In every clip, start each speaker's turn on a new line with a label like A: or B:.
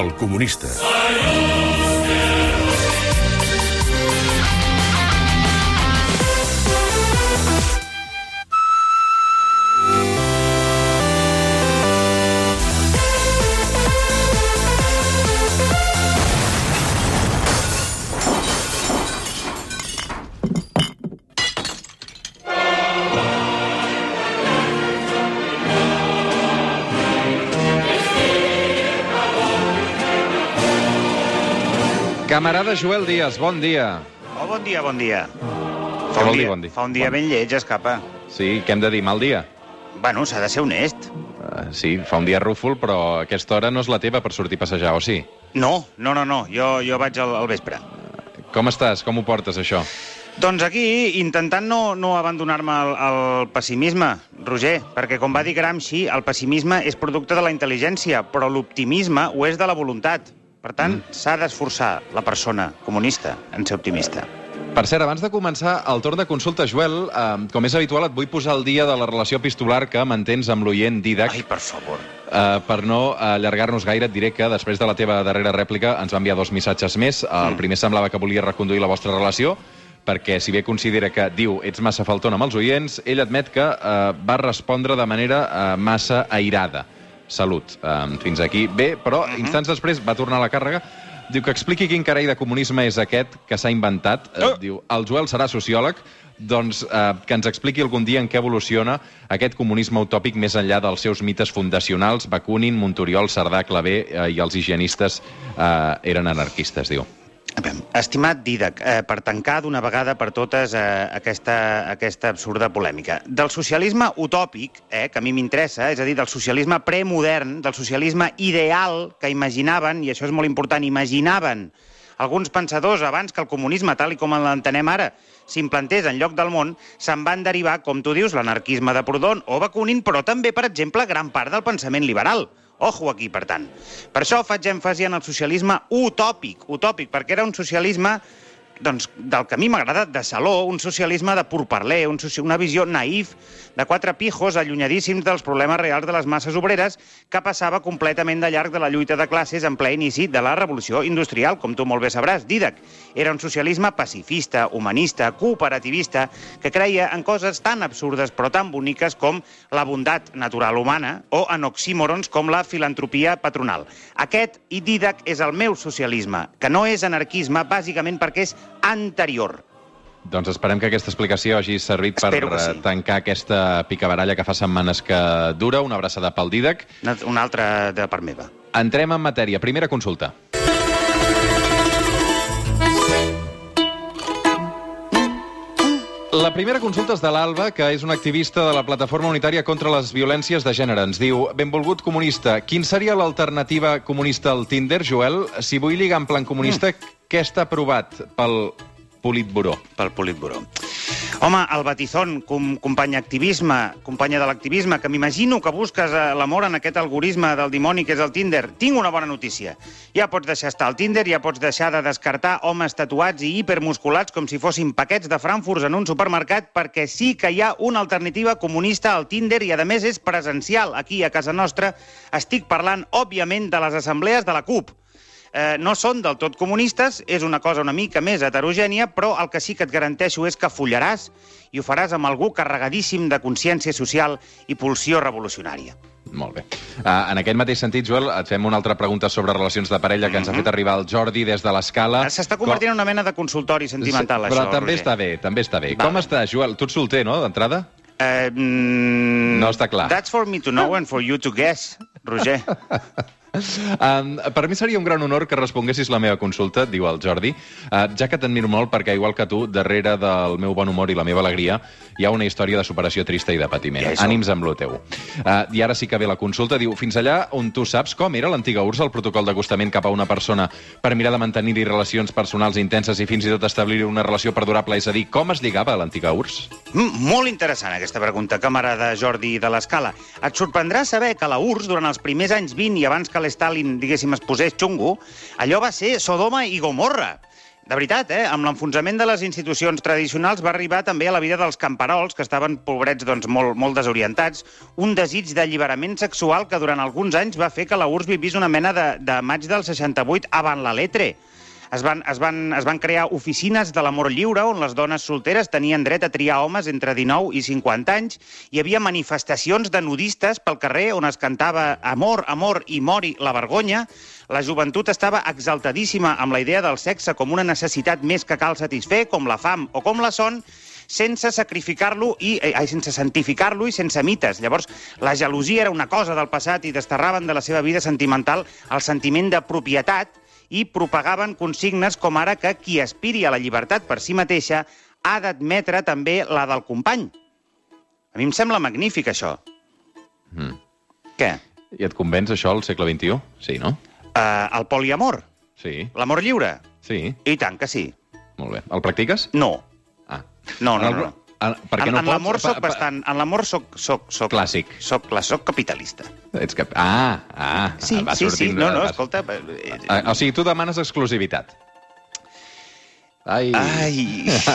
A: El comunista.
B: Camarada Joel Díaz, bon dia.
C: Oh, bon dia, bon dia.
B: Què
C: Fa
B: vol
C: un
B: dir,
C: dia,
B: bon dia?
C: fa un dia
B: Bon-
C: ben lleig, escapa.
B: Sí, què hem de dir? Mal dia?
C: Bueno, s'ha de ser honest.
B: Uh, sí, fa un dia rúfol, però aquesta hora no és la teva per sortir a passejar, o sí?
C: No, no, no, no, jo, jo vaig al, al vespre.
B: Com estàs? Com ho portes, això?
C: Doncs aquí, intentant no, no abandonar-me al, al pessimisme, Roger, perquè com va dir Gramsci, el pessimisme és producte de la intel·ligència, però l'optimisme ho és de la voluntat. Per tant,
B: Mm.
C: s'ha d'esforçar la persona comunista en ser optimista.
B: Per cert, abans de començar el torn de consulta, Joel, eh, com és habitual, et vull posar el dia de la relació epistolar que mantens amb l'oient Didac.
C: Ai, per favor.
B: Eh, per no allargar-nos gaire, et diré que després de la teva darrera rèplica ens va enviar dos missatges més. El primer semblava que volia reconduir la vostra relació, perquè si bé considera que, diu, ets massa faltona amb els oients, ell admet que eh, va respondre de manera eh, massa airada. Salut. Eh, fins aquí bé, però instants després va tornar a la càrrega. Diu que expliqui quin carall de comunisme és aquest que s'ha inventat. Eh,
C: Ah!
B: Diu, el Joel serà sociòleg, doncs eh, que ens expliqui algun dia en què evoluciona aquest comunisme utòpic més enllà dels seus mites fundacionals, Bakunin, Montoriol, Cerdà, Clavé eh, i els higienistes eh, eren anarquistes, diu.
C: Estimat Didac, eh, per tancar d'una vegada per totes eh, aquesta, aquesta absurda polèmica, del socialisme utòpic, eh, que a mi m'interessa, és a dir, del socialisme premodern, del socialisme ideal que imaginaven, i això és molt important, imaginaven alguns pensadors abans que el comunisme, tal i com l'entenem ara, s'implantés en lloc del món, se'n van derivar, com tu dius, l'anarquisme de Proudhon o Bakunin, però també, per exemple, gran part del pensament liberal. Ojo aquí, per tant. Per això faig èmfasi en el socialisme utòpic, utòpic, perquè era un socialisme doncs, del que a mi m'agrada, de saló, un socialisme de purparler, un soci... una visió naïf de quatre pijos allunyadíssims dels problemes reals de les masses obreres que passava completament de llarg de la lluita de classes en ple inici de la revolució industrial, com tu molt bé sabràs, Didac. Era un socialisme pacifista, humanista, cooperativista, que creia en coses tan absurdes però tan boniques com la bondat natural humana o en oxímorons com la filantropia patronal. Aquest i Didac és el meu socialisme, que no és anarquisme bàsicament perquè és anterior.
B: Doncs esperem que aquesta explicació hagi servit per
C: Espero que sí.
B: eh, tancar aquesta picabaralla que fa setmanes que dura. Una abraçada pel Didac.
C: Una- Una altra de part meva.
B: Entrem en matèria. Primera consulta. La primera consulta és de l'Alba, que és una activista de la Plataforma Unitària contra les Violències de Gènere. Ens diu, benvolgut comunista, quin seria l'alternativa comunista al Tinder, Joel? Si vull lligar en plan comunista, mm. què està aprovat pel Politburó?
C: pel Politburó. Home, el Batizón, com, company activisme, companya de l'activisme, que m'imagino que busques eh, l'amor en aquest algoritme del dimoni que és el Tinder, tinc una bona notícia. Ja pots deixar estar el Tinder, ja pots deixar de descartar homes tatuats i hipermusculats com si fossin paquets de frankfurts en un supermercat, perquè sí que hi ha una alternativa comunista al Tinder i, a més, és presencial aquí a casa nostra. Estic parlant, òbviament, de les assemblees de la CUP eh, no són del tot comunistes, és una cosa una mica més heterogènia, però el que sí que et garanteixo és que follaràs i ho faràs amb algú carregadíssim de consciència social i pulsió revolucionària.
B: Molt bé. Uh, en aquest mateix sentit, Joel, et fem una altra pregunta sobre relacions de parella que ens ha fet arribar el Jordi des de l'escala.
C: Mm-hmm. S'està convertint en una mena de consultori sentimental,
B: Ah, Però
C: això,
B: també
C: Roger.
B: està bé, també està bé.
C: Val.
B: Com està, Joel? Tu ets solter, no, d'entrada?
C: Eh, mm,
B: No està clar.
C: That's for me to know and for you to guess, Roger.
B: Um, per mi seria un gran honor que responguessis la meva consulta, diu el Jordi, uh, ja que t'admiro molt perquè, igual que tu, darrere del meu bon humor i la meva alegria, hi ha una història de superació trista i de patiment.
C: Ja hi som.
B: Ànims amb lo teu. Uh, I ara sí que ve la consulta. Diu, fins allà on tu saps com era l'antiga URSS el protocol d'acostament cap a una persona per mirar de mantenir-hi relacions personals intenses i fins i tot establir una relació perdurable, és a dir, com es lligava a l'antiga URSS?
C: Mm, Molt interessant aquesta pregunta, camarada Jordi de l'Escala. Et sorprendrà saber que la URSS, durant els primers anys 20 i abans que l'Stalin, diguéssim, es posés xungo, allò va ser Sodoma i Gomorra. de veritat, eh? amb l'enfonsament de les institucions tradicionals va arribar també a la vida dels camperols, que estaven pobrets doncs, molt, molt desorientats, un desig d'alliberament sexual que durant alguns anys va fer que la URSS vivís una mena de, de maig del 68 avant la letre. Es van, es, van, es van crear oficines de l'amor lliure on les dones solteres tenien dret a triar homes entre 19 i 50 anys. Hi havia manifestacions de nudistes pel carrer on es cantava amor, amor i mori la vergonya. La joventut estava exaltadíssima amb la idea del sexe com una necessitat més que cal satisfer, com la fam o com la son, sense sacrificar-lo i eh, ai, sense santificar-lo i sense mites. Llavors, la gelosia era una cosa del passat i desterraven de la seva vida sentimental el sentiment de propietat i propagaven consignes com ara que qui aspiri a la llibertat per si mateixa ha d'admetre també la del company. A mi em sembla magnífic, això.
B: Mm.
C: Què?
B: I et convenç això al segle XXI? Sí, no?
C: Uh, el poliamor?
B: Sí,
C: L'amor lliure?
B: sí,
C: I tant que sí.
B: molt bé. El practiques?
C: No.
B: Ah.
C: No, no,
B: En el-
C: no. no.
B: En, per què
C: en
B: no
C: en
B: pots?
C: l'amor
B: Pa-
C: soc
B: pa-
C: bastant... En l'amor soc, soc, soc...
B: Clàssic.
C: Soc, clar, soc capitalista.
B: Ets cap... Ah, ah.
C: Sí,
B: va
C: sí, sí.
B: sortint-
C: No, no,
B: va-
C: escolta... eh, eh,
B: Ah, O sigui, tu demanes exclusivitat. Ai,
C: eh, Ai.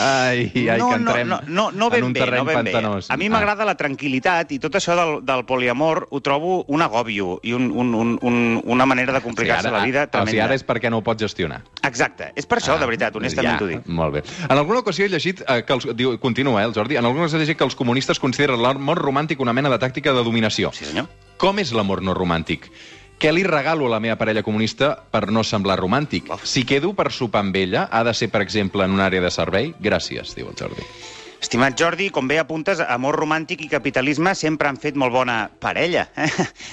B: ai, ai
C: no,
B: que entrem
C: no, no, no, no ben
B: en un
C: bé,
B: terreny
C: no ben
B: pantanós.
C: Bé. A mi
B: Ah.
C: m'agrada la tranquil·litat i tot això del, del poliamor ho trobo un agòbio i un, un, un, un, una manera de complicar-se la vida
B: O sigui,
C: tremenda.
B: ara és perquè no ho pots gestionar.
C: Exacte, és per això,
B: Ah,
C: de veritat, honestament t'ho dic.
B: Molt bé. En alguna ocasió he llegit eh, que els... Diu, continua, eh, el Jordi. En alguna ocasió he llegit que els comunistes consideren l'amor romàntic una mena de tàctica de dominació.
C: Sí, senyor.
B: Com és l'amor no romàntic? Què li regalo a la meva parella comunista per no semblar romàntic?
C: Uf.
B: Si quedo per sopar amb ella, ha de ser, per exemple, en una àrea de servei? Gràcies, diu el Jordi.
C: Estimat Jordi, com bé apuntes, amor romàntic i capitalisme sempre han fet molt bona parella. eh?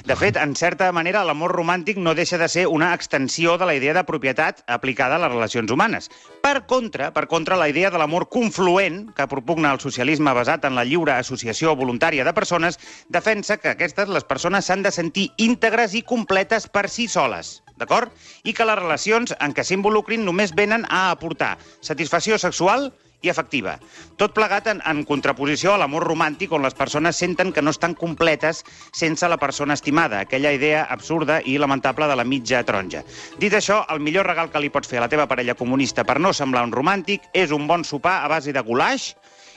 C: De fet, en certa manera, l'amor romàntic no deixa de ser una extensió de la idea de propietat aplicada a les relacions humanes. Per contra, per contra la idea de l'amor confluent, que propugna el socialisme basat en la lliure associació voluntària de persones, defensa que aquestes, les persones, s'han de sentir íntegres i completes per si soles d'acord? I que les relacions en què s'involucrin només venen a aportar satisfacció sexual i efectiva. Tot plegat en, en contraposició a l'amor romàntic on les persones senten que no estan completes sense la persona estimada, aquella idea absurda i lamentable de la mitja taronja. Dit això, el millor regal que li pots fer a la teva parella comunista per no semblar un romàntic és un bon sopar a base de goulash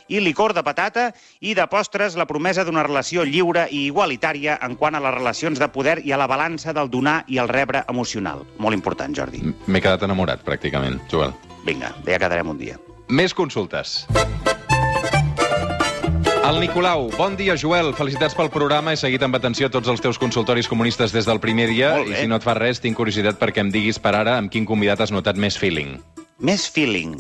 C: i licor de patata i de postres la promesa d'una relació lliure i igualitària en quant a les relacions de poder i a la balança del donar i el rebre emocional. Molt important, Jordi.
B: M- M'he quedat enamorat, pràcticament, Joel.
C: Vinga, ja quedarem un dia.
B: Més consultes. El Nicolau, bon dia, Joel. Felicitats pel programa. He seguit amb atenció tots els teus consultoris comunistes des del primer dia.
C: Molt
B: I
C: bé.
B: si no et fa res, tinc curiositat perquè em diguis per ara amb quin convidat has notat més feeling.
C: Més feeling.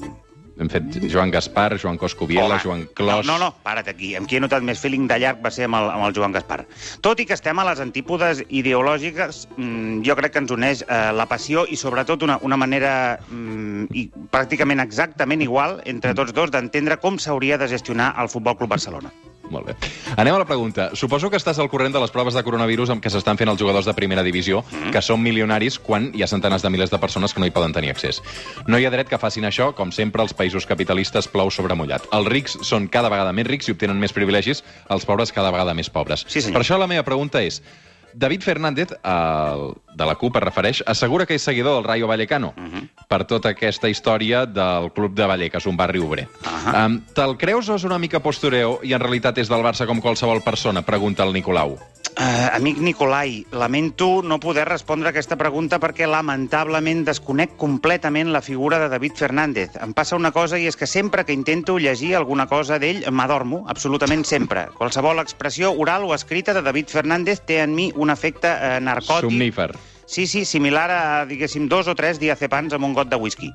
B: Hem fet Joan Gaspar, Joan Coscubiela,
C: Home,
B: Joan Clos...
C: No, no, no, para't aquí. Amb qui he notat més feeling de llarg va ser amb el, amb el Joan Gaspar. Tot i que estem a les antípodes ideològiques, mm, jo crec que ens uneix eh, la passió i, sobretot, una, una manera mm, i pràcticament exactament igual entre tots dos d'entendre com s'hauria de gestionar el Futbol Club Barcelona.
B: Molt bé. Anem a la pregunta. Suposo que estàs al corrent de les proves de coronavirus amb què s'estan fent els jugadors de primera divisió,
C: Mm.
B: que són milionaris quan hi ha centenars de milers de persones que no hi poden tenir accés. No hi ha dret que facin això, com sempre els països capitalistes plou sobre mullat. Els rics són cada vegada més rics i obtenen més privilegis, els pobres cada vegada més pobres.
C: Sí, senyor.
B: per això la meva pregunta és... David Fernández, el de la CUP es refereix, assegura que és seguidor del Rayo Vallecano
C: Mm.
B: per tota aquesta història del club de Vallecas, un barri obrer.
C: Ahà.
B: Em, Te'l creus o és una mica postureo i en realitat és del Barça com qualsevol persona? Pregunta el Nicolau.
C: Uh, amic Nicolai, lamento no poder respondre a aquesta pregunta perquè lamentablement desconec completament la figura de David Fernández. Em passa una cosa i és que sempre que intento llegir alguna cosa d'ell m'adormo, absolutament sempre. Qualsevol expressió oral o escrita de David Fernández té en mi un efecte eh, narcòtic.
B: Somnífer.
C: Sí, sí, similar a, diguéssim, dos o tres diazepans amb un got de whisky.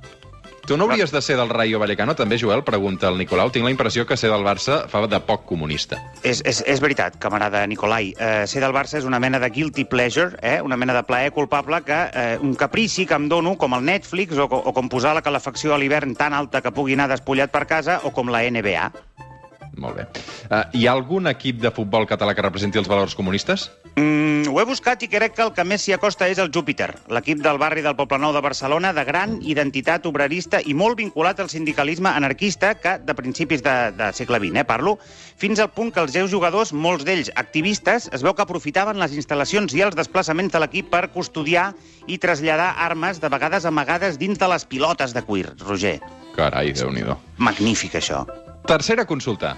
B: Tu no hauries de ser del Rayo Vallecano, també, Joel? Pregunta el Nicolau. Tinc la impressió que ser del Barça fa de poc comunista.
C: És, és, és veritat, camarada Nicolai. Eh, ser del Barça és una mena de guilty pleasure, eh? una mena de plaer culpable, que eh, un caprici que em dono, com el Netflix, o, co- o com posar la calefacció a l'hivern tan alta que pugui anar despullat per casa, o com la NBA.
B: Eh, Molt bé. Uh, hi ha algun equip de futbol català que representi els valors comunistes?
C: Mm, Mm, ho he buscat i crec que el que més s'hi acosta és el Júpiter, l'equip del barri del Poblenou de Barcelona de gran identitat obrerista i molt vinculat al sindicalisme anarquista que de principis de, de segle XX, eh, parlo, fins al punt que els seus jugadors, molts d'ells activistes, es veu que aprofitaven les instal·lacions i els desplaçaments de l'equip per custodiar i traslladar armes de vegades amagades dins de les pilotes de cuir, Roger.
B: Carai, déu nhi
C: Magnífic, això.
B: Tercera consulta.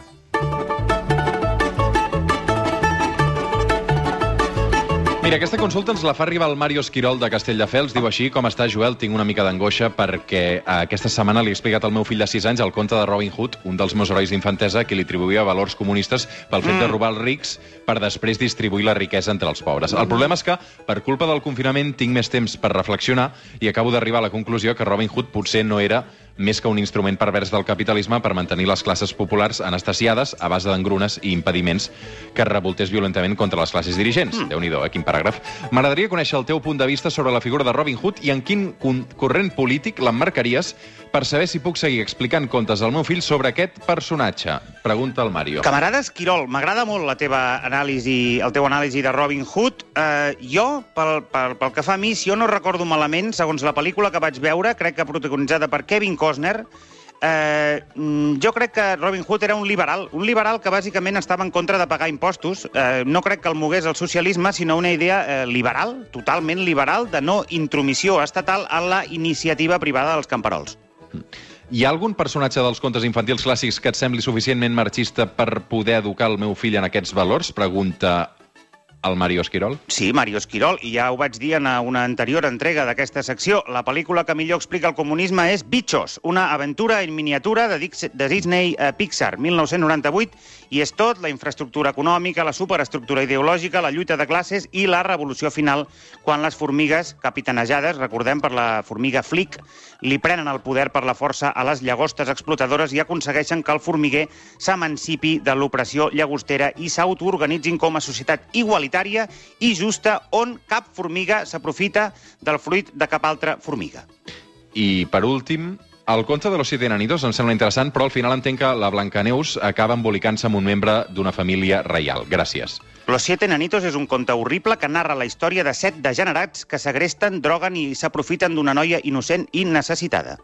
B: Mira, aquesta consulta ens la fa arribar el Mario Esquirol de Castelldefels. Diu així, com està Joel, tinc una mica d'angoixa perquè eh, aquesta setmana li he explicat al meu fill de 6 anys el conte de Robin Hood, un dels meus herois d'infantesa, que li atribuïa valors comunistes pel fet de robar els rics per després distribuir la riquesa entre els pobres. El problema és que, per culpa del confinament, tinc més temps per reflexionar i acabo d'arribar a la conclusió que Robin Hood potser no era més que un instrument pervers del capitalisme per mantenir les classes populars anestesiades a base d'engrunes i impediments que es revoltés violentament contra les classes dirigents. Mm. Déu-n'hi-do, eh? quin paràgraf. M'agradaria conèixer el teu punt de vista sobre la figura de Robin Hood i en quin con- corrent polític l'emmarcaries per saber si puc seguir explicant contes al meu fill sobre aquest personatge. Pregunta al Mario.
C: Camarada Esquirol, m'agrada molt la teva anàlisi, el teu anàlisi de Robin Hood. Eh, jo, pel, pel, pel que fa a mi, si jo no recordo malament, segons la pel·lícula que vaig veure, crec que protagonitzada per Kevin Costner, eh, mm, jo crec que Robin Hood era un liberal, un liberal que bàsicament estava en contra de pagar impostos. Eh, no crec que el mogués el socialisme, sinó una idea eh, liberal, totalment liberal, de no intromissió estatal a la iniciativa privada dels camperols.
B: Hi ha algun personatge dels contes infantils clàssics que et sembli suficientment marxista per poder educar el meu fill en aquests valors? Pregunta el Mario Esquirol.
C: Sí, Mario Esquirol, i ja ho vaig dir en una anterior entrega d'aquesta secció. La pel·lícula que millor explica el comunisme és Bichos, una aventura en miniatura de, Dix de Disney eh, Pixar, 1998, i és tot la infraestructura econòmica, la superestructura ideològica, la lluita de classes i la revolució final, quan les formigues, capitanejades, recordem per la formiga Flick, li prenen el poder per la força a les llagostes explotadores i aconsegueixen que el formiguer s'emancipi de l'opressió llagostera i s'autoorganitzin com a societat igualitària i justa on cap formiga s'aprofita del fruit de cap altra formiga.
B: I, per últim, el conte de los siete enanitos em sembla interessant, però al final entenc que la Blancaneus acaba embolicant-se amb un membre d'una família reial. Gràcies.
C: Los siete nanitos és un conte horrible que narra la història de set degenerats que segresten, droguen i s'aprofiten d'una noia innocent i necessitada.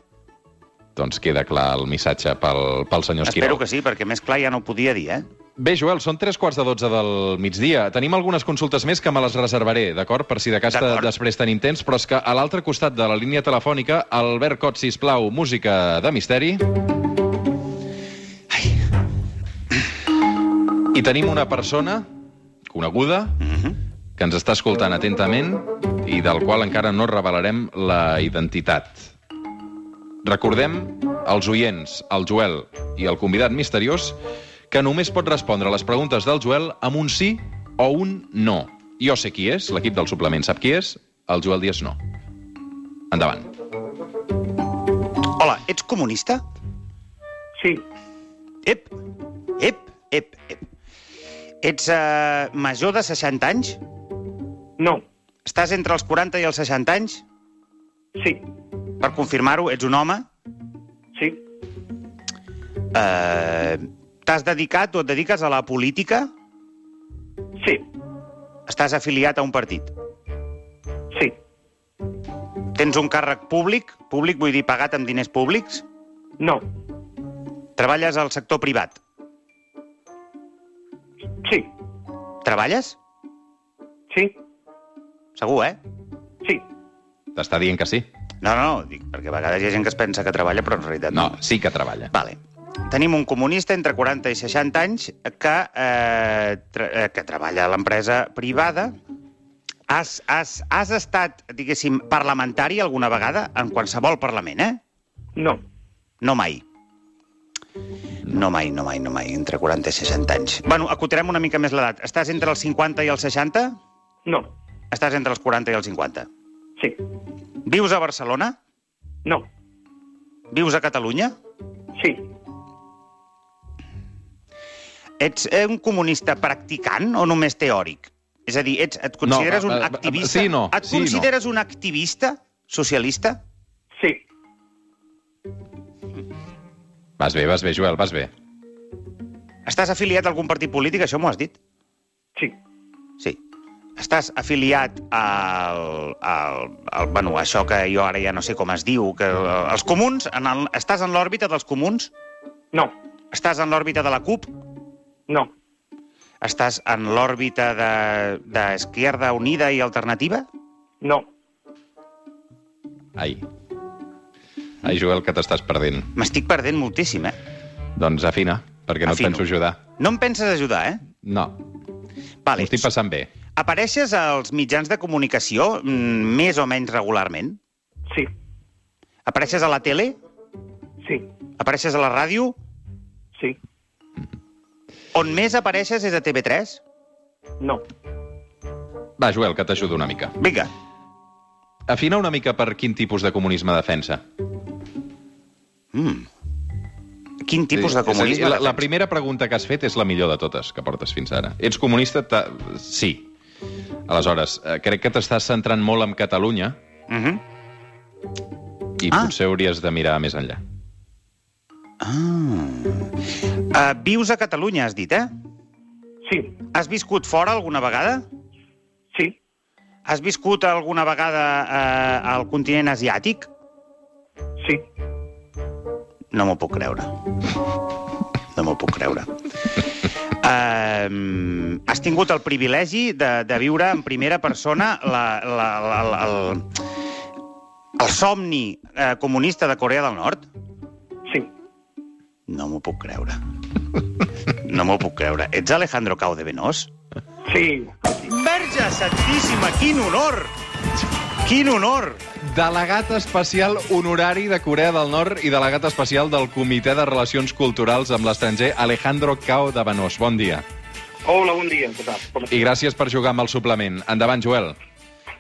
B: Doncs queda clar el missatge pel, pel senyor Esquirol.
C: Espero que sí, perquè més clar ja no ho podia dir, eh?
B: Bé, Joel, són tres quarts de dotze del migdia. Tenim algunes consultes més que me les reservaré, d'acord? Per si de cas
C: D'acord.
B: després tenim temps, però és que a l'altre costat de la línia telefònica, Albert Cot, sisplau, música de misteri. I tenim una persona coneguda que ens està escoltant atentament i del qual encara no revelarem la identitat. Recordem als oients, al Joel i al convidat misteriós que només pot respondre a les preguntes del Joel amb un sí o un no. Jo sé qui és, l'equip del suplement sap qui és, el Joel Díaz no. Endavant.
C: Hola, ets comunista?
A: Sí,
C: Ep, ep, ep, ep. Ets eh, major de 60 anys?
A: no,
C: Estàs entre els 40 i els 60 anys?
A: sí,
C: Per confirmar-ho, ets un home?
A: sí,
C: Eh, T'has dedicat o et dediques a la política?
A: sí,
C: Estàs afiliat a un partit?
A: sí,
C: Tens un càrrec públic? Públic vull dir pagat amb diners públics?
A: no,
C: Treballes al sector privat?
A: sí,
C: Treballes?
A: sí,
C: Segur, eh?
A: sí,
B: T'està dient que sí?
C: No, no, no, dic, perquè a vegades hi ha gent que es pensa que treballa, però en realitat
B: No, sí que treballa.
C: Vale. Tenim un comunista entre 40 i 60 anys que, eh, tre- eh, que treballa a l'empresa privada. Has, has, has estat, diguéssim, parlamentari alguna vegada? En qualsevol parlament, eh?
A: no,
C: No mai. No mai, no mai, no mai, entre 40 i 60 anys. Bueno, acotarem una mica més l'edat. Estàs entre els 50 i els 60?
A: no,
C: Estàs entre els 40 i els 50.
A: sí,
C: Vius a Barcelona?
A: no,
C: Vius a Catalunya?
A: sí,
C: Ets eh, un comunista practicant o només teòric? És a dir, ets, et consideres
B: No,
C: no,
B: eh,
C: un
B: eh,
C: activista?
B: sí, no,
C: Et
B: sí, no.
C: consideres un activista socialista?
A: sí,
B: Vas bé, vas bé, Joel, vas bé.
C: Estàs afiliat a algun partit polític? Això m'ho has dit?
A: sí,
C: Sí. estàs afiliat al, al, al... Bueno, això que jo ara ja no sé com es diu, que eh, els comuns, en el, estàs en l'òrbita dels comuns?
A: no,
C: Estàs en l'òrbita de la CUP?
A: no,
C: Estàs en l'òrbita de- d'Esquerra de, Unida i Alternativa?
A: no.
B: Ai. Ai, Joel, que t'estàs perdent.
C: M'estic perdent moltíssim, eh?
B: Doncs afina, perquè no
C: Afino.
B: et penso ajudar.
C: No em penses ajudar, eh?
B: No,
C: Vale.
B: m'ho estic passant bé.
C: Apareixes als mitjans de comunicació mm, més o menys regularment?
A: Sí,
C: Apareixes a la tele?
A: sí,
C: Apareixes a la ràdio?
A: sí,
C: On més apareixes és a TV3?
A: no.
B: Va, Joel, que t'ajudo una mica.
C: Vinga,
B: Afina una mica per quin tipus de comunisme defensa.
C: quin tipus de
B: És a
C: comunisme?
B: dir, la, la
C: defensa?
B: primera pregunta que has fet és la millor de totes que portes fins ara. Ets comunista? Ta... Sí. Aleshores, eh, crec que t'estàs centrant molt en Catalunya
C: Mhm.
B: i
C: Ah.
B: potser hauries de mirar més enllà.
C: Eh, vius a Catalunya, has dit, eh?
A: Sí,
C: Has viscut fora alguna vegada?
A: sí,
C: Has viscut alguna vegada eh, al continent asiàtic?
A: sí.
C: No m'ho puc creure. No m'ho puc creure. Um, has tingut el privilegi de, de viure en primera persona la, la, la, la, el, el somni eh, comunista de Corea del Nord?
A: Sí,
C: No m'ho puc creure. No m'ho puc creure. Ets Alejandro Cau de Venós?
A: sí.
C: Verge Santíssima, quin honor! Quin honor!
B: Delegat especial honorari de Corea del Nord i delegat especial del Comitè de Relacions Culturals amb l'estranger Alejandro Cao de Benós. Bon dia.
A: Hola, bon dia. Què tal? Com
B: I gràcies per jugar amb el suplement. Endavant, Joel.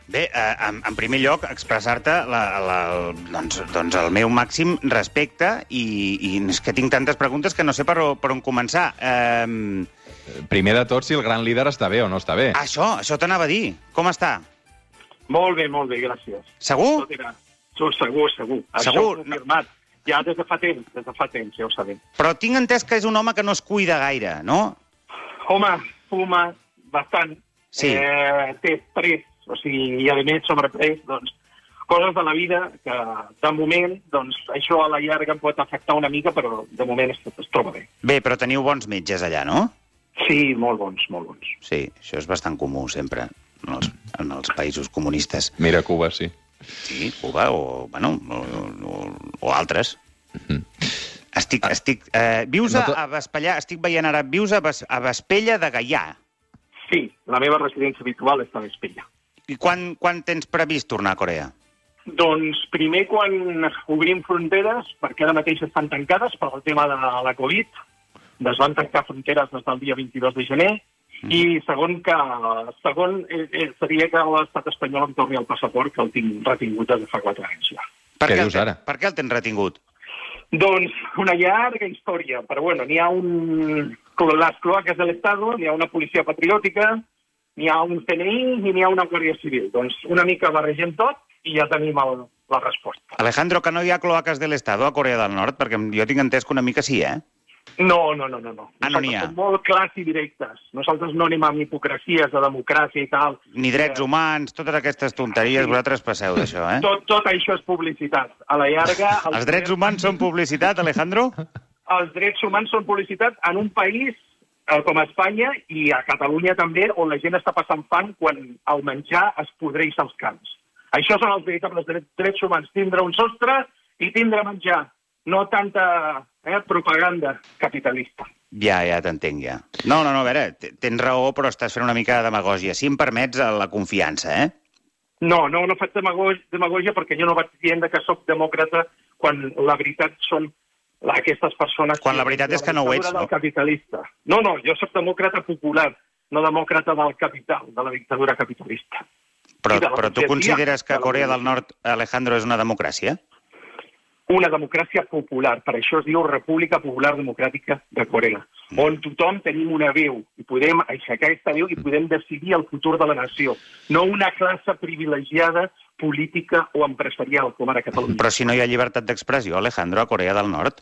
C: Bé, eh, en, en primer lloc, expressar-te la, la, el, doncs, doncs el meu màxim respecte i, i és que tinc tantes preguntes que no sé per, o- per on començar. Eh,
B: Primer de tot, si el gran líder està bé o no està bé.
C: això, això t'anava a dir. Com està?
A: Molt bé, molt bé, gràcies.
C: Segur?
A: Tot era... Segur, segur, segur. Això
C: Segur?
A: ho he confirmat. Ja des de fa temps, des de fa temps, ja ho sabem.
C: Però tinc entès que és un home que no es cuida gaire, no?
A: Home, fuma bastant.
C: Sí.
A: Eh, té estrès, o sigui, i a més sobreprès, doncs, coses de la vida que, de moment, doncs, això a la llarga em pot afectar una mica, però de moment es, es troba bé.
C: Bé, però teniu bons metges allà, no?
A: Sí, molt bons, molt bons.
C: Sí, això és bastant comú sempre en els, en els països comunistes.
B: Mira Cuba, sí.
C: Sí, Cuba o, bueno, o, o, o altres. Estic, estic... Eh, vius
B: Mhm. Ah. No
C: a,
B: to-
C: a Vespellà, estic veient ara, vius a, Ves, a Vespella de Gaià.
A: Sí, la meva residència habitual està a Vespella.
C: I quan, quan tens previst tornar a Corea?
A: Doncs primer quan obrim fronteres, perquè ara mateix estan tancades per al tema de la Covid, es van tancar fronteres des del dia 22 de gener, i segon, que, segon eh, eh, seria que l'estat espanyol em torni el passaport, que el tinc retingut des de fa 4 anys ja.
B: Què
C: el
B: dius
C: ten-
B: ara?
C: Per què el tens retingut?
A: Doncs una llarga història, però bueno, n'hi ha un... les cloaques de l'Estado, n'hi ha una policia patriòtica, n'hi ha un CNI i n'hi ha una Guàrdia Civil. Doncs una mica barregem tot i ja tenim el, la resposta.
C: Alejandro, que no hi ha cloaques de l'Estado a Corea del Nord? Perquè jo tinc entès que una mica sí, eh?
A: No, no, no, no. no.
C: Ah, no n'hi ha.
A: Nosaltres som molt clars i directes. Nosaltres no anem amb hipocresies de democràcia i tal.
C: Ni drets
A: Eh,
C: humans, totes aquestes tonteries, vosaltres passeu d'això, eh?
A: Tot, tot això és publicitat. A la llarga...
C: Els drets humans són publicitat, Alejandro?
A: Els drets humans són publicitat en un país eh, com Espanya i a Catalunya també, on la gent està passant fam quan el menjar es podreix als camps. Això són els veritables drets, drets humans, tindre un sostre i tindre menjar, no tanta eh, propaganda capitalista.
C: Ja, ja t'entenc, ja. No, no, no, a veure, t- tens raó, però estàs fent una mica de demagògia. Si em permets, eh, la confiança, eh?
A: No, no, no faig demagogia, demagogia perquè jo no vaig dient que sóc demòcrata quan la veritat són la- aquestes persones...
C: Quan la veritat és que no ho ets,
A: no?
C: no?
A: Capitalista. No, no, jo sóc demòcrata popular, no demòcrata del capital, de la dictadura capitalista.
C: Però,
A: Sí, de la
C: però tu
A: burgesia,
C: consideres que
A: de la
C: Corea del
A: burgesia.
C: Nord, Alejandro, és una democràcia?
A: Una democràcia popular, per això es diu República Popular Democràtica de Corea,
C: Mm.
A: on tothom tenim una veu i podem aixecar aquesta veu i podem decidir el futur de la nació, no una classe privilegiada política o empresarial, com ara a Catalunya.
C: Però si no hi ha llibertat d'expressió, Alejandro, a Corea del Nord?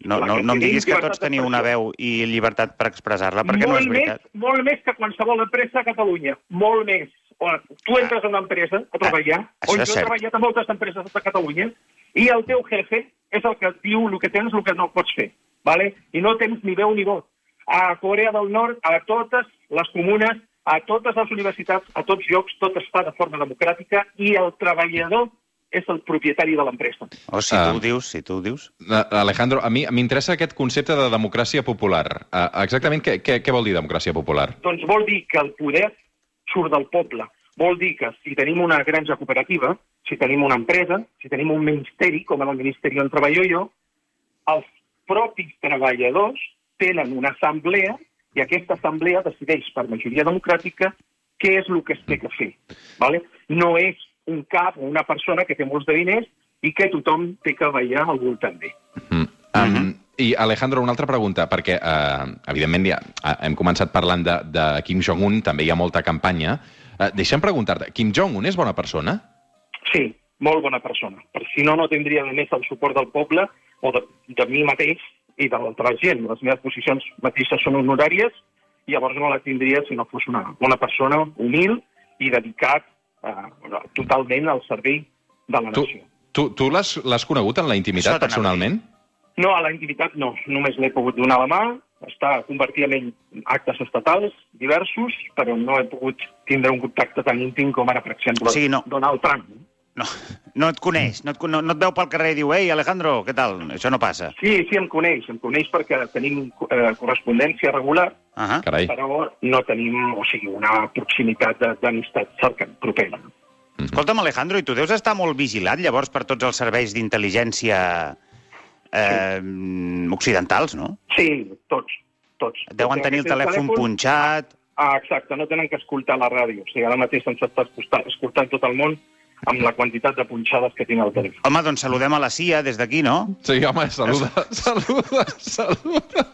C: No,
A: Clar
C: no,
A: que
C: no em
A: sí,
C: diguis que
A: llibertat
C: tots teniu una
A: d'expressió.
C: veu i llibertat per expressar-la, perquè no
A: molt
C: és veritat.
A: Més, molt més que qualsevol empresa a Catalunya. Molt més. on tu entres en una empresa a treballar,
C: Ah, això
A: on
C: és
A: jo he
C: cert.
A: treballat a moltes empreses de Catalunya, i el teu jefe és el que et diu el que tens, el que no pots fer. Vale? I no tens ni veu ni vot. A Corea del Nord, a totes les comunes, a totes les universitats, a tots llocs, tot es fa de forma democràtica i el treballador és el propietari de l'empresa.
C: O si
B: Ah.
C: tu ho dius, si tu ho dius.
B: Eh, Alejandro, a mi m'interessa aquest concepte de democràcia popular. Eh, Exactament què, què, què vol dir democràcia popular?
A: Doncs vol dir que el poder surt del poble. Vol dir que si tenim una granja cooperativa, si tenim una empresa, si tenim un ministeri, com en el ministeri on treballo jo, els propis treballadors tenen una assemblea i aquesta assemblea decideix per majoria democràtica què és el que es té que fer. Vale? No és un cap o una persona que té molts de diners i que tothom té que ballar al voltant d'ell.
B: Mm. Um, I, Alejandro, una altra pregunta, perquè, uh, evidentment, ja eh, hem començat parlant de, de Kim Jong-un, també hi ha molta campanya. Uh, deixa'm preguntar-te, Kim Jong-un és bona persona?
A: Sí, molt bona persona. Per si no, no tindria només el suport del poble o de, de mi mateix i de l'altra gent. Les meves posicions mateixes són honoràries i llavors no la tindria si no fos una bona persona, humil i dedicat eh, totalment al servei de la
B: Tu,
A: nació.
B: tu, tu l'has l'has conegut en la intimitat,
C: Això t'anava a dir.
B: personalment?
A: No, a la intimitat no. Només l'he pogut donar la mà, està convertint en actes estatals diversos, però no he pogut tindre un contacte tan íntim com ara, per exemple,
C: O sigui, no.
A: Donald Trump.
C: No, no et coneix, no et, con- no, no et veu pel carrer i diu «Ei, Alejandro, què tal?» Això no passa.
A: Sí, sí, em coneix, em coneix perquè tenim eh, correspondència regular,
C: Ah -ha.
B: Carai.
A: però no tenim, o sigui, una proximitat de- d'amistat cercant, propera.
C: Escolta'm, Alejandro, i tu deus estar molt vigilat, llavors, per tots els serveis d'intel·ligència eh, occidentals, no?
A: Sí, tots, tots.
C: Deuen
A: Tots
C: tenir el
A: tenen
C: telèfon punxat...
A: Ah, exacte, no tenen que escoltar la ràdio. O sigui, ara mateix se'ns està escoltant, escoltant tot el món amb la quantitat de punxades que tinc al telèfon.
C: Home, doncs saludem a la CIA des d'aquí, no?
B: Sí, home, saluda, saluda, saluda.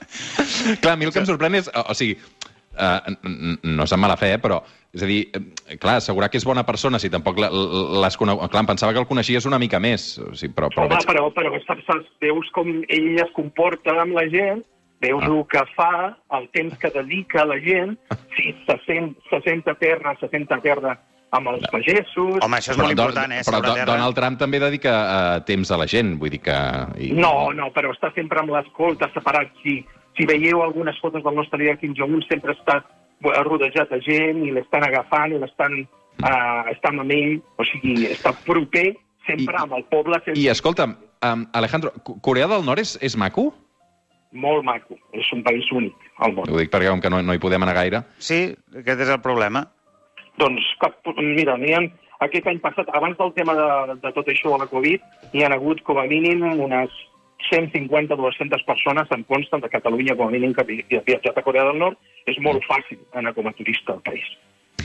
B: Clar, a mi el que em sorprèn és... O, o sigui, uh, no és amb mala fe, eh, però... És a dir, eh, clar, assegurar que és bona persona si tampoc la- l- l'has conegut... Clar, em pensava que el coneixies una mica més, o sigui, però, però
A: Home,
B: veig...
A: però, però saps, saps, veus com ell es comporta amb la gent, veus
B: Ah.
A: el que fa, el temps que dedica a la gent, si se sent, se sent a terra, se sent a terra amb els pagesos...
C: Home, això és molt important, eh?
B: Però
C: sobre
B: Do-
C: terra.
B: Donald Trump també dedica eh, temps a la gent, vull dir que... I...
A: No, no, però està sempre amb l'escolta separat. Si, si veieu algunes fotos del nostre líder Kim Jong-un, sempre està eh, rodejat de gent i l'estan agafant i l'estan
B: Mm.
A: uh, estan amb ell. O sigui, està proper sempre
B: I-
A: amb el poble, sempre
B: I escolta'm, um, Alejandro, Co- Corea del Nord és, és maco?
A: molt maco. És un país únic al món.
B: Ho dic perquè com que no, no hi podem anar gaire.
C: Sí, aquest és el problema.
A: Doncs, cap, mira, n'hi ha, aquest any passat, abans del tema de, de tot això de la Covid, n'hi han hagut com a mínim unes 150-200 persones en consten de Catalunya, com a mínim, que vi- que ha viatjat a Corea del Nord. És molt
C: Mm.
A: fàcil anar com a turista al país.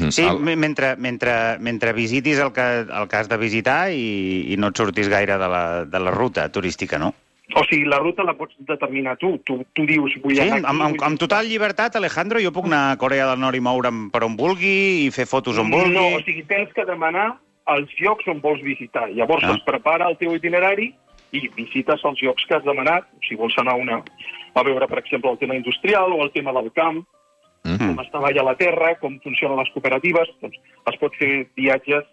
C: Sí,
B: El-
C: me- mentre, mentre, mentre visitis el que, el que has de visitar i, i no et sortis gaire de la, de la ruta turística, no?
A: O sigui, la ruta la pots determinar tu. Tu, tu dius, vull
C: Sí,
A: anar
C: amb,
A: aquí,
C: amb,
A: vull-
C: amb total llibertat, Alejandro, jo puc anar a Corea del Nord i moure'm per on vulgui i fer fotos on vulgui.
A: No, o sigui, tens que demanar els llocs on vols visitar. Llavors
C: Ah.
A: es prepara el teu itinerari i visites els llocs que has demanat. Si vols anar a una, a veure, per exemple, el tema industrial o el tema del camp,
B: Mhm.
C: Mm.
A: com es treballa la terra, com funcionen les cooperatives, doncs es pot fer viatges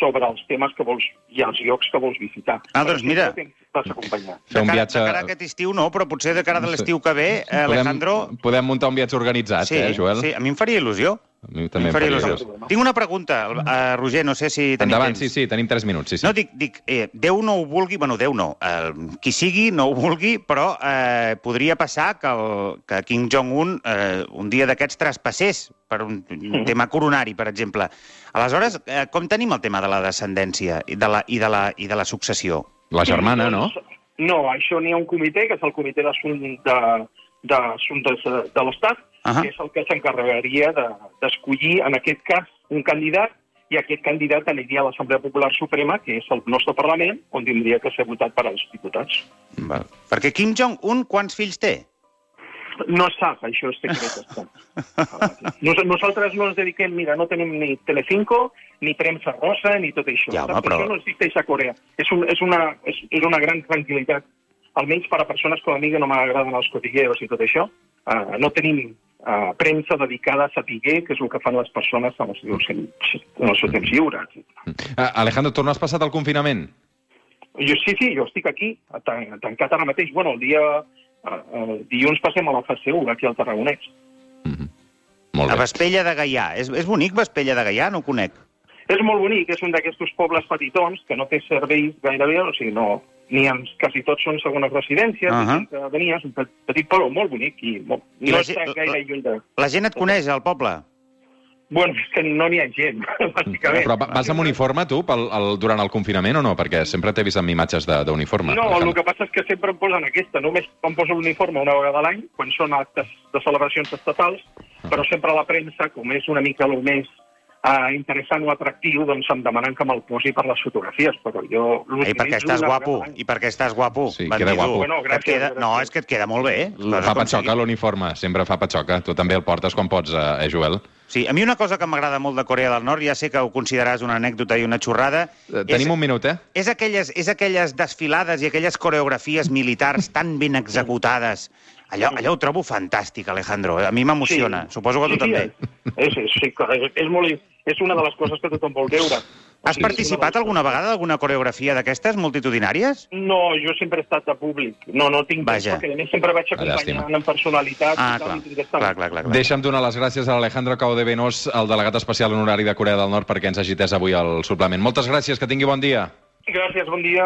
A: sobre els temes que vols i els llocs que vols visitar.
C: Ah, doncs
A: Per
C: mira.
A: exemple, Vas acompanyar.
B: Fer un
C: de, cara,
B: viatge...
C: de cara a aquest estiu no, però potser de cara a
B: No sé.
C: l'estiu que ve, eh, Alejandro...
B: Podem, podem muntar un viatge organitzat,
C: Sí,
B: eh, Joel?
C: sí, a mi em faria il·lusió.
B: A mi
C: A mi
B: també
C: em faria
A: faria
C: il·lusió.
A: il·lusió.
C: Tinc una pregunta, eh, Roger, no sé si tenim
B: Endavant,
C: temps.
B: sí, sí, tenim 3 minuts. Sí, sí.
C: No, dic, dic eh, Déu no ho vulgui, bueno, Déu no, eh, qui sigui no ho vulgui, però eh, podria passar que, el, que Kim Jong-un eh, un dia d'aquests traspassés per un, un tema coronari, per exemple. Aleshores, eh, com tenim el tema de la descendència i de la, i de la, i de la successió?
B: La germana, no?
A: No, això n'hi ha un comitè, que és el comitè d'assumptes de, d'assumptes de, de l'Estat, uh
C: Ahà.
A: -huh. que és el que s'encarregaria de- d'escollir, en aquest cas, un candidat, i aquest candidat aniria a l'Assemblea Popular Suprema, que és el nostre Parlament, on tindria que ser votat per als diputats.
C: Val. Perquè Kim Jong-un quants fills té?
A: No es sap, això és secret. estat. Nos, nosaltres no ens dediquem, mira, no tenim ni Telecinco, ni premsa rosa, ni tot això.
C: Ja, home,
A: Saps?
C: però-
A: Això no existeix a Corea. És, un, és, una, és, és una gran tranquil·litat, almenys per a persones com a mi que no m'agraden els cotilleros i tot això. Uh, no tenim eh, premsa dedicada a saber què és el que fan les persones en el seu, temps, en el seu
C: Mm-hmm.
A: temps lliure.
B: Ah, Alejandro, torno has passat el confinament?
A: Jo, sí, sí, jo estic aquí, tan- tancat ara mateix. Bueno, el dia... Eh, eh, dilluns passem a la fase 1, aquí al Tarragonès.
B: Molt
C: A
B: bé.
C: Vespella de Gaià. És, és bonic Vespella de Gaià? No ho conec.
A: És molt bonic, és un d'aquests pobles petitons que no té serveis gairebé, o sigui, no, ni en, quasi tots són segones residències, uh
C: Ahà.
A: -huh. que venies, un pe- petit poble molt bonic i, molt,
C: I
A: no
C: la
A: està
C: ge-
A: gaire lluny de...
C: La gent et coneix, al poble?
A: Bueno, és que no n'hi ha gent, bàsicament.
B: Però va- vas amb uniforme, tu, pel, el, durant el confinament o no? Perquè sempre t'he vist amb imatges de- d'uniforme.
A: No, el
B: Alejandro.
A: que passa és que sempre em posen aquesta. Només em poso l'uniforme una vegada a l'any, quan són actes de celebracions estatals, però sempre la premsa, com és una mica el més eh, interessant o atractiu, doncs em demanen que me'l posi per les fotografies, però jo
C: I perquè estàs guapo, i perquè estàs guapo.
B: Sí,
C: van
B: queda
C: dir tu.
B: guapo.
A: Bueno, gràcies,
C: Et queda... No, és
A: gràcies.
C: que et queda molt bé. eh? L'has
B: Fa
C: aconseguit.
B: patxoca l'uniforme, sempre fa patxoca. Tu també el portes quan pots, eh, eh Joel?
C: Sí, a mi una cosa que m'agrada molt de Corea del Nord, ja sé que ho consideraràs una anècdota i una xorrada,
B: Eh, Tenim
C: és,
B: un minut, eh?
C: és, aquelles, és aquelles desfilades i aquelles coreografies militars tan ben executades. Allò, allò ho trobo fantàstic, Alejandro. eh? A mi m'emociona. Sí. Suposo que a tu també.
A: eh, És, és, sí, clar, és, és, molt, és una de les coses que tothom vol veure.
C: Has participat alguna vegada d'alguna coreografia d'aquestes multitudinàries?
A: No, jo sempre he estat de públic. No, no tinc
C: Vaja.
A: temps, perquè a més sempre vaig acompanyant
B: llàstima.
A: amb personalitat.
C: Ah,
A: i tal,
C: clar.
A: i tinc
C: clar,
A: aquesta-
C: clar, clar, clar.
B: Deixa'm donar les gràcies a l'Alejandro Cao de Venós, el delegat especial honorari de Corea del Nord, perquè ens hagi atès avui el suplement. Moltes gràcies, que tingui bon dia.
A: Gràcies, bon dia.